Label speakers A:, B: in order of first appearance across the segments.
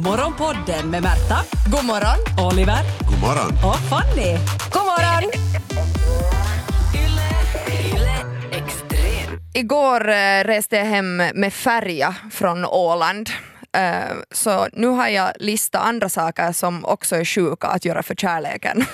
A: Morgonpodden med Märta. God morgon. Oliver.
B: God morgon.
A: Och Fanny.
C: God morgon! Igår eh, reste jag hem med färja från Åland. Eh, Så nu har jag listat andra saker som också är sjuka att göra för kärleken.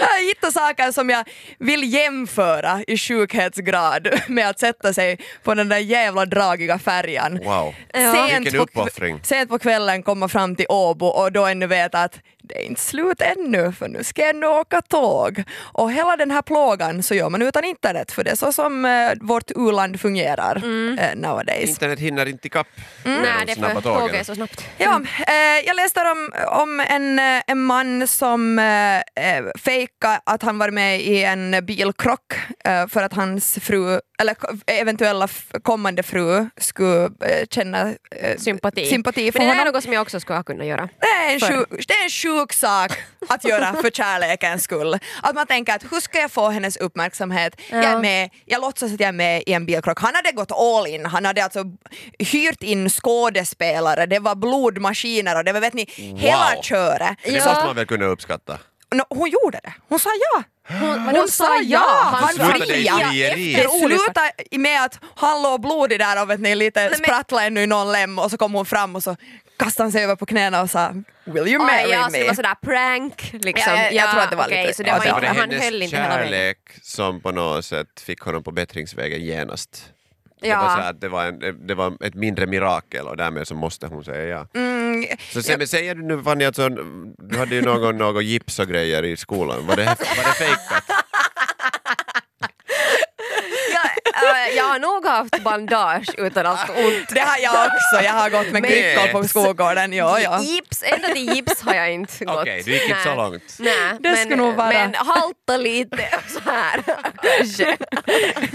C: jag har hittat saker som jag vill jämföra i sjukhetsgrad med att sätta sig på den där jävla dragiga färjan.
B: Wow.
C: Sent,
B: Vilken
C: på,
B: uppoffring.
C: kv- sent på kvällen komma fram till Åbo och då ännu veta att det är inte slut ännu för nu ska jag ändå åka tåg. Och hela den här plågan så gör man utan internet för det är så som eh, vårt u-land fungerar
D: Mm.
C: eh, nowadays.
B: Internet hinner inte ikapp med
D: Nej,
B: de
D: det
B: snabba
D: får
B: tågen.
D: tåget så snabbt.
C: Ja, eh, jag läste om, om en, eh, en man som eh, eh, fejkade att han var med i en bilkrock eh, för att hans fru, eller k- eventuella f- kommande fru skulle eh, känna eh,
D: Sympati.
C: sympati för
D: Men det
C: honom.
D: är något som jag också skulle ha kunnat göra.
C: Det är, en
D: För-
C: sjuk, det är en sjuk sak att göra för kärlekens skull. Att man tänker att hur ska jag få hennes uppmärksamhet? Jag, är
D: Ja.
C: med, jag låtsas att jag är med i en bilkrock. Han hade gått all in, han hade alltså hyrt in skådespelare, det var blodmaskiner och det var vet ni, hela
B: Wow.
C: köret.
B: Det
D: Ja.
B: måste man väl kunna uppskatta?
C: Nå, hon gjorde det, hon sa ja.
D: Hon,
C: Hon sa ja! Han
B: slutade i
C: friade
B: frieri.
C: Det
D: efter olyckan.
C: slutade med att han låg blodig där och vet ni, lite
D: men-
C: sprattlade ännu i någon lem och så kom hon fram och så kastade han sig över på knäna och sa Will you marry
D: Oj, ja, så
C: me?
D: det var sådär prank liksom.
C: Ja, jag- jag tror att det var
D: okej,
C: lite-
D: Så
C: ja,
D: det var
C: det var
B: var
D: inte,
B: Alltså, det
D: han
B: hennes
D: höll inte hela vägen.
B: kärlek som på något sätt fick honom på bättringsvägen genast? Det,
D: Ja.
B: var så här att det, var en, det var ett mindre mirakel och därmed så måste hon säga ja.
D: Mm,
B: så sen, men säger du nu Fanny, alltså, du hade ju någon, någon gips och grejer i skolan, var det, var det fejkat?
D: Ja, äh, jag har nog haft bandage utan allt ont.
C: Det har jag också, jag har gått med
B: Men-
C: kryckor på skolgården. Ja, ja.
D: Gips, ända till gips har jag inte gått.
B: Okej, du gick inte så
D: Nej.
B: långt.
D: Nej,
C: Det skulle nog vara-
D: men halta lite så här kanske.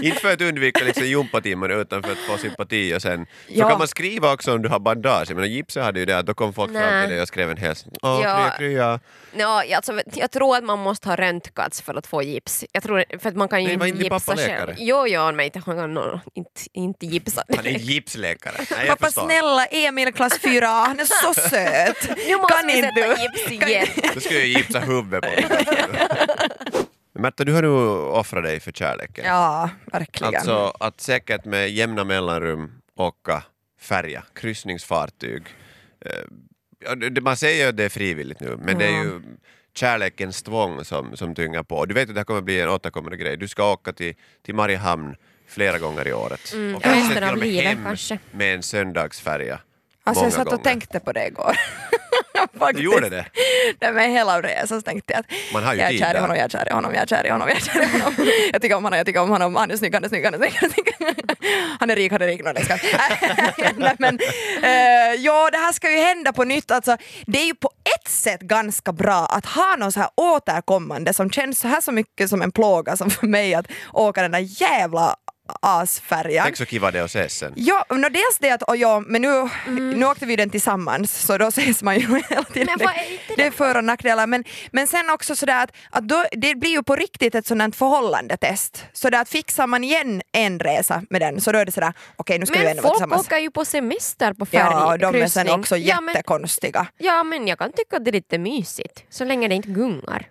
B: Inte för att undvika liksom gympatimmarna utan för att få sympati och sen
C: Ja.
B: så kan man skriva också om du har bandage. Jag menar gipset hade ju det att då kom folk fram
D: Nej.
B: till dig och skrev en hälsning. Åh,
D: Ja.
B: krya, krya.
D: No, alltså, jag tror att man måste ha röntgats för att få gips. Jag tror, för att man kan ju
B: Nej, var
D: inte
B: inte din
D: gipsa
B: pappa
D: själv.
B: läkare?
D: Jo, jo, men inte, han kan no, inte, inte gipsa.
B: Han är gipsläkare. Nej, jag
C: Pappa
B: förstår.
C: snälla, Emil klass 4 han är så söt.
D: Nu måste
C: Kan
D: vi
C: inte
D: sätta
C: du?
D: gips
C: Kan-
D: igen.
B: Då skulle jag gipsa huvudet på mig. Märta, du har nu offrat dig för kärleken.
C: Ja, verkligen.
B: Alltså att säkert med jämna mellanrum åka färja, kryssningsfartyg. Eh, ja, det- det- Man säger ju att det är frivilligt nu, men det är ju kärlekens tvång som, som tynger på. Du vet att det här kommer bli en återkommande grej. Du ska åka till, till Mariehamn flera gånger i året. Mm, och kanske
D: resten av
B: till och med
D: livet,
B: hem
D: kanske.
B: med en söndagsfärja.
C: alltså jag
B: många
C: satt och
B: gånger.
C: tänkte på det igår.
B: Du gjorde det?
C: Nej, men hela resan så tänkte jag att
B: Man har ju
C: jag är
B: tid
C: kär i
B: där.
C: honom, jag är kär i honom, jag är kär i honom, jag är kär i honom. Jag tycker om honom, jag tycker om honom, han är snygg, han är snygg, han är snygg. Han är, snygg. Han är rik, han är rik. Nej, jag skojar. Nej, men, eh, ja, det här ska ju hända på nytt. Alltså, det är ju på ett sätt ganska bra att ha någon så här återkommande som känns så här så mycket som en plåga som för mig att åka den där jävla asfärjan.
B: Tänk så kiva det är att ses sen.
C: Ja, no, dels det att, oh ja, men nu, nu åkte vi den tillsammans så då ses man ju hela tiden.
D: Mm. Men vad är inte
C: det är för och nackdelar. Men, men sen också sådär att, att då, det blir ju på riktigt ett sådant förhållandetest. Så där att fixar man igen en resa med den så då är det sådär, okej nu ska vi
D: Men
C: ändå vara
D: folk
C: tillsammans.
D: åker ju på semester på
C: Ja, och de är sen
D: färjkryssning.
C: också
D: ja, men,
C: jättekonstiga.
D: ja, men jag kan tycka att det är lite mysigt. Så länge det inte gungar.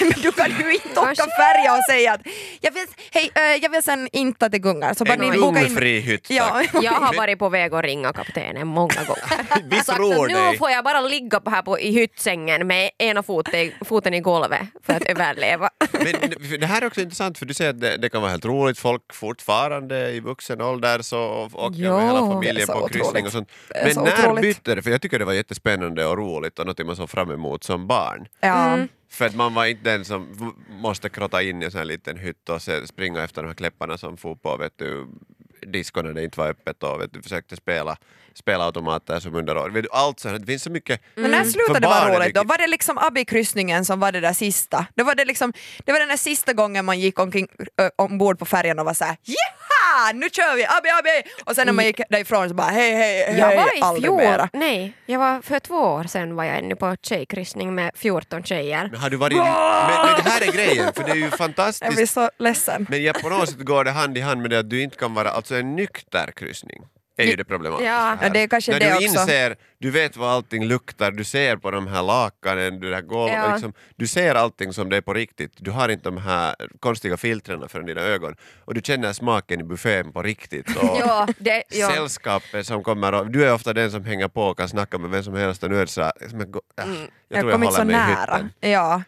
C: Men du kan ju inte åka
D: Kanske.
C: färja och säga att jag vill, hej, eh, jag vill sen inte att det gungar. Så bara
B: En
C: ni boka in...
B: gungfri hytt
C: Ja.
B: tack.
D: Jag har varit på väg att ringa kaptenen många gånger.
B: Vi
D: Sagt att
B: tror
D: nu
B: dig.
D: får jag bara ligga på här på, i hyttsängen med ena foten, foten i golvet för att överleva.
B: Men för det här är också intressant för du säger att det, det kan vara helt roligt, folk fortfarande i vuxen ålder så åker
D: Ja.
B: med hela
C: Det är
B: familjen
C: så
B: på
C: otroligt.
B: kryssning och sånt.
C: Det är
B: Men
C: så
B: när
C: otroligt.
B: bytte det? För jag tycker det var jättespännande och roligt och något man såg fram emot som barn.
C: Ja.
D: Mm.
B: För att man var inte den som v- måste krotta in i en sån här liten hytt och se, springa efter de här kläpparna som for på vet du, disco när det inte var öppet och vet du, försökte spela, spela automater som underår. Vet du, allt sånt, här. det finns så mycket.
C: Men när slutade
B: För
C: det
B: barn är
C: vara
B: det
C: roligt då?
B: viktigt.
C: Var det liksom abbekryssningen som var det där sista? Det var, det liksom, det var den där sista gången man gick omkring, ö, ombord på färjan och var såhär Jaha! Nu kör vi! Abbe, abbe! Och sen när man gick därifrån så bara hej, hej, hej!
D: Jag var i
C: aldrig
D: fjol,
C: mera.
D: nej, jag var för två år sedan var jag ännu på tjejkryssning med 14 tjejer.
B: Men har du varit... Men, men det här är grejen, för det är ju
C: Jag
B: fantastiskt
C: blir så ledsen.
B: Men jag, på något sätt går det hand i hand med det att du inte kan vara alltså en nykter kryssning. är ju det problematiska
D: Ja.
B: här.
C: Ja, det är kanske
B: När
C: det
B: du
C: också.
B: inser, du vet vad allting luktar, du ser på de här lakanen, du, där golvet,
D: Ja.
B: liksom, du ser allting som det är på riktigt. Du har inte de här konstiga filtrerna för dina ögon och du känner smaken i buffén på riktigt. Och
D: Ja, det, ja.
B: Sällskapet som kommer, och- du är ofta den som hänger på och kan snacka med vem som helst och nu är det sådär, men go- äh,
C: Mm,
B: jag tror jag
C: kommer inte
B: håller
C: så
B: mig i
C: nära.
B: hytten.
C: Ja.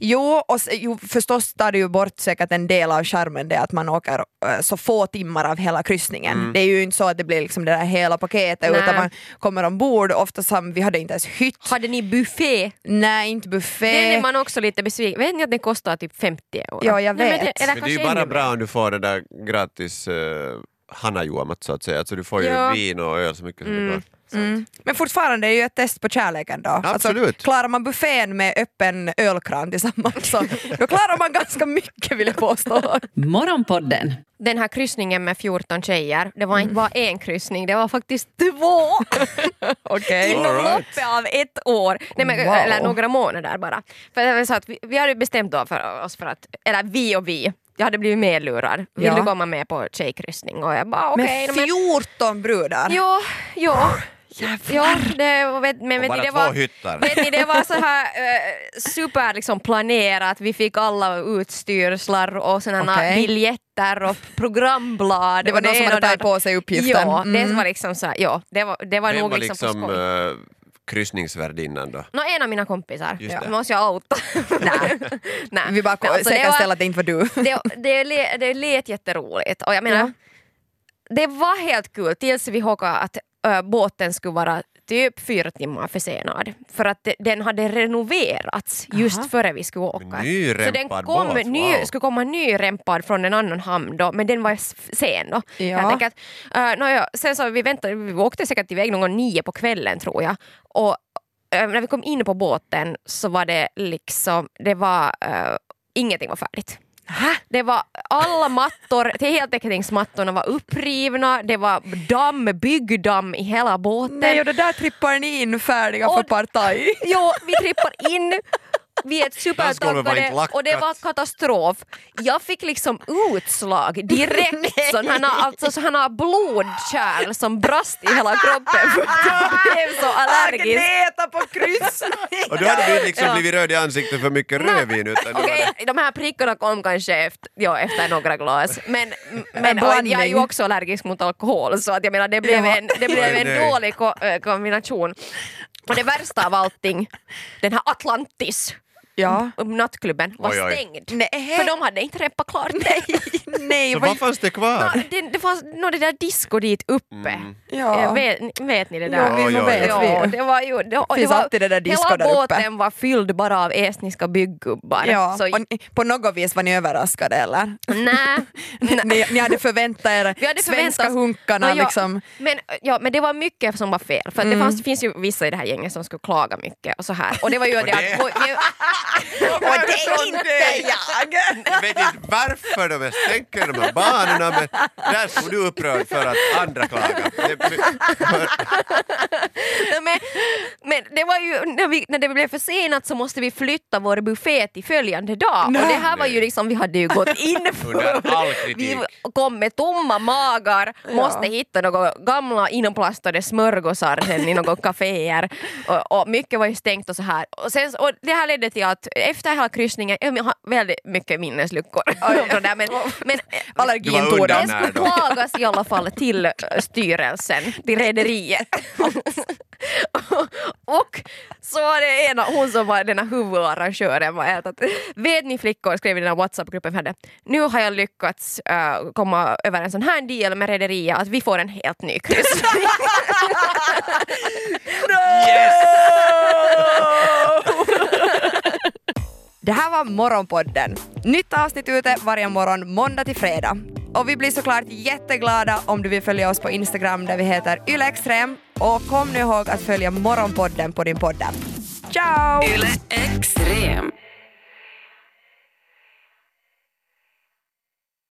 C: Jo, och s- jo, förstås tar det ju bort säkert en del av charmen det att man åker eh, så få timmar av hela kryssningen.
B: Mm.
C: Det är ju inte så att det blir liksom det där hela paketet
D: Nej.
C: utan man kommer ombord, oftast har vi hade inte ens hytt,
D: Hade ni buffé?
C: nej inte
D: Den
C: buffé.
D: är man också lite besviken Vet ni att den kostar typ 50 euro?
C: Ja, jag
D: Nej, men
C: vet.
D: eller
B: Men det är ju
D: kanske
B: bara
D: ännu
B: bra om du får det där gratis uh, hannajuomat så att säga, alltså du får ju
D: Ja.
B: vin och öl så mycket som det går.
C: Mm. Men fortfarande är det ju ett test på kärleken då. Alltså,
B: Absolut.
C: klarar man buffén med öppen ölkran tillsammans så då klarar man ganska mycket vill jag påstå.
A: Morgonpodden
D: den här kryssningen med 14 tjejer, det var inte bara en kryssning, det var faktiskt två!
C: Okej.
D: Inom
B: All right.
D: loppet av ett år, Nej, men,
C: Wow.
D: eller några månader bara. För det var så att vi, vi hade bestämt då för oss för att, eller vi och vi, jag hade blivit medlurad. Vill
C: Ja.
D: du komma med på tjejkryssning? Och jag bara okej.
C: Med
D: men-
C: 14 brudar.
D: Ja, ja. Ja, det, och vet, men
B: Och
D: vet
B: bara
D: ni, det
B: två
D: var,
B: hyttar.
D: vet ni, det var så här eh, super liksom planerat. Vi fick alla utstyrslar och sådana
C: Okej.
D: biljetter och programblad.
C: Det var
D: och
C: någon som
D: ena
C: hade
D: och det
C: tagit
D: andra.
C: på sig uppgiften.
D: Ja, det
C: Mm.
D: var liksom så här, ja, det var, det var
B: Vem
D: nog
B: var
D: liksom,
B: liksom
D: på skoj. Mm.
B: eh, kryssningsvärdinnan då?
D: Nå, en av mina kompisar.
B: Just det.
D: Måste jag outa? Nej. Nej.
C: Vi bara
D: Men alltså, det var-
C: säkerställer att det inte var du.
D: det, det, le- det lät jätteroligt och jag menar,
C: Ja.
D: det var helt kul tills vi håkade att ö, båten skulle vara typ fyra timmar försenad för att de- den hade renoverats just
C: Aha.
D: före vi skulle åka.
B: Men nyrempad
D: Så den kom,
B: båt,
D: ny,
B: wow.
D: skulle komma nyrempad från en annan hamn då, men den var s- sen då.
C: Ja.
D: Helt enkelt. Eh, nåja, sen så vi väntade, vi åkte säkert iväg någon gång nio på kvällen tror jag. Och eh, när vi kom in på båten så var det liksom, det var, eh, ingenting var färdigt. Det var alla mattor, till heltäckningsmattorna var upprivna, det var damm, byggdamm i hela båten.
C: Nej, och det där trippar ni in färdiga för
D: Och-
C: partaj.
D: Jo, vi trippar in, vi är
B: Dansgolvet var inte
D: supertaggade
B: lackat.
D: och det var katastrof. Jag fick liksom utslag direkt, så han har, alltså, så han har blodkärl som brast i hela kroppen för att han blev så allergisk.
C: Agneta på kryssning!
B: Och du hade blivit, liksom
D: Ja.
B: blivit röd i ansiktet för mycket rödvin utan du
D: Okej,
B: hade-
D: de här prickarna kom kanske efter, ja, efter några glas. Men, men och
C: blandning.
D: jag är ju också allergisk mot alkohol så att jag menar det blev
C: Ja.
D: en, det blev
B: Oj,
D: en
B: nej.
D: dålig ko- eh, kombination. Och det värsta av allting, den här Atlantis, eh,
C: Ja.
D: nattklubben, var
B: Oj, oj.
D: stängd.
C: Nej.
D: För de hade inte repat klart.
C: Nej,
B: Så
C: vad-
B: vad fanns det kvar?
D: Det, det fanns nå det där disco dit uppe.
C: Ja.
D: Eh, Vet, vet ni det där?
C: Mm. Ja,
B: vi Ja, vet
C: ja. vi.
D: det var ju, det, och
C: Finns
D: det var,
C: alltid det där disco
D: Hela
C: där uppe.
D: båten var fylld bara av estniska byggubbar.
C: ja.
D: Så,
C: Och ni, på något vis var ni överraskade eller?
D: nej,
C: Ni, ni hade förväntat er
D: Vi hade
C: svenska
D: förväntat oss-
C: hunkarna
D: Nå, ja,
C: liksom. Mm.
D: Men, ja, men det var mycket som var fel. För att det fanns, finns ju vissa i det här gänget som skulle klaga mycket och så här. Och det var ju det
B: det-
D: att... Och, vi,
C: Och det är inte jag!
B: Jag vet inte varför de ens tänker de här banorna men där stod du upprörd för att andra klagade. Det-
D: men, men det var ju, när, vi, när det blev försenat så måste vi flytta vår buffé till följande dag. Och det här var ju liksom, vi hade ju gått in
B: Under all
D: för,
B: kritik.
D: vi kom med tomma magar, måste hitta några gamla inplastade smörgåsar sen i några kaféer. Och, och mycket var ju stängt och så här. Och, sen, och det här ledde till att efter hela kryssningen, jag har väldigt mycket minnesluckor från det här, men, men
B: Du
C: Allergin
B: var
C: tog
B: undan
C: dem.
B: här.
D: det skulle
B: då.
D: klagas i alla fall till eh, styrelsen, till rederiet. och så var det ena, hon som var den här huvudarrangören var helt att vet ni flickor, skrev i den här Whatsapp-gruppen vi hade, nu har jag lyckats eh, komma över en sån här deal med rederiet att vi får en helt ny kryss.
C: Det här var Morgonpodden. Nytt avsnitt ute varje morgon måndag till fredag. Och vi blir såklart jätteglada om du vill följa oss på Instagram där vi heter ylextrem. Och kom nu ihåg att följa Morgonpodden på din poddapp. Ciao!
E: Yle Extrem.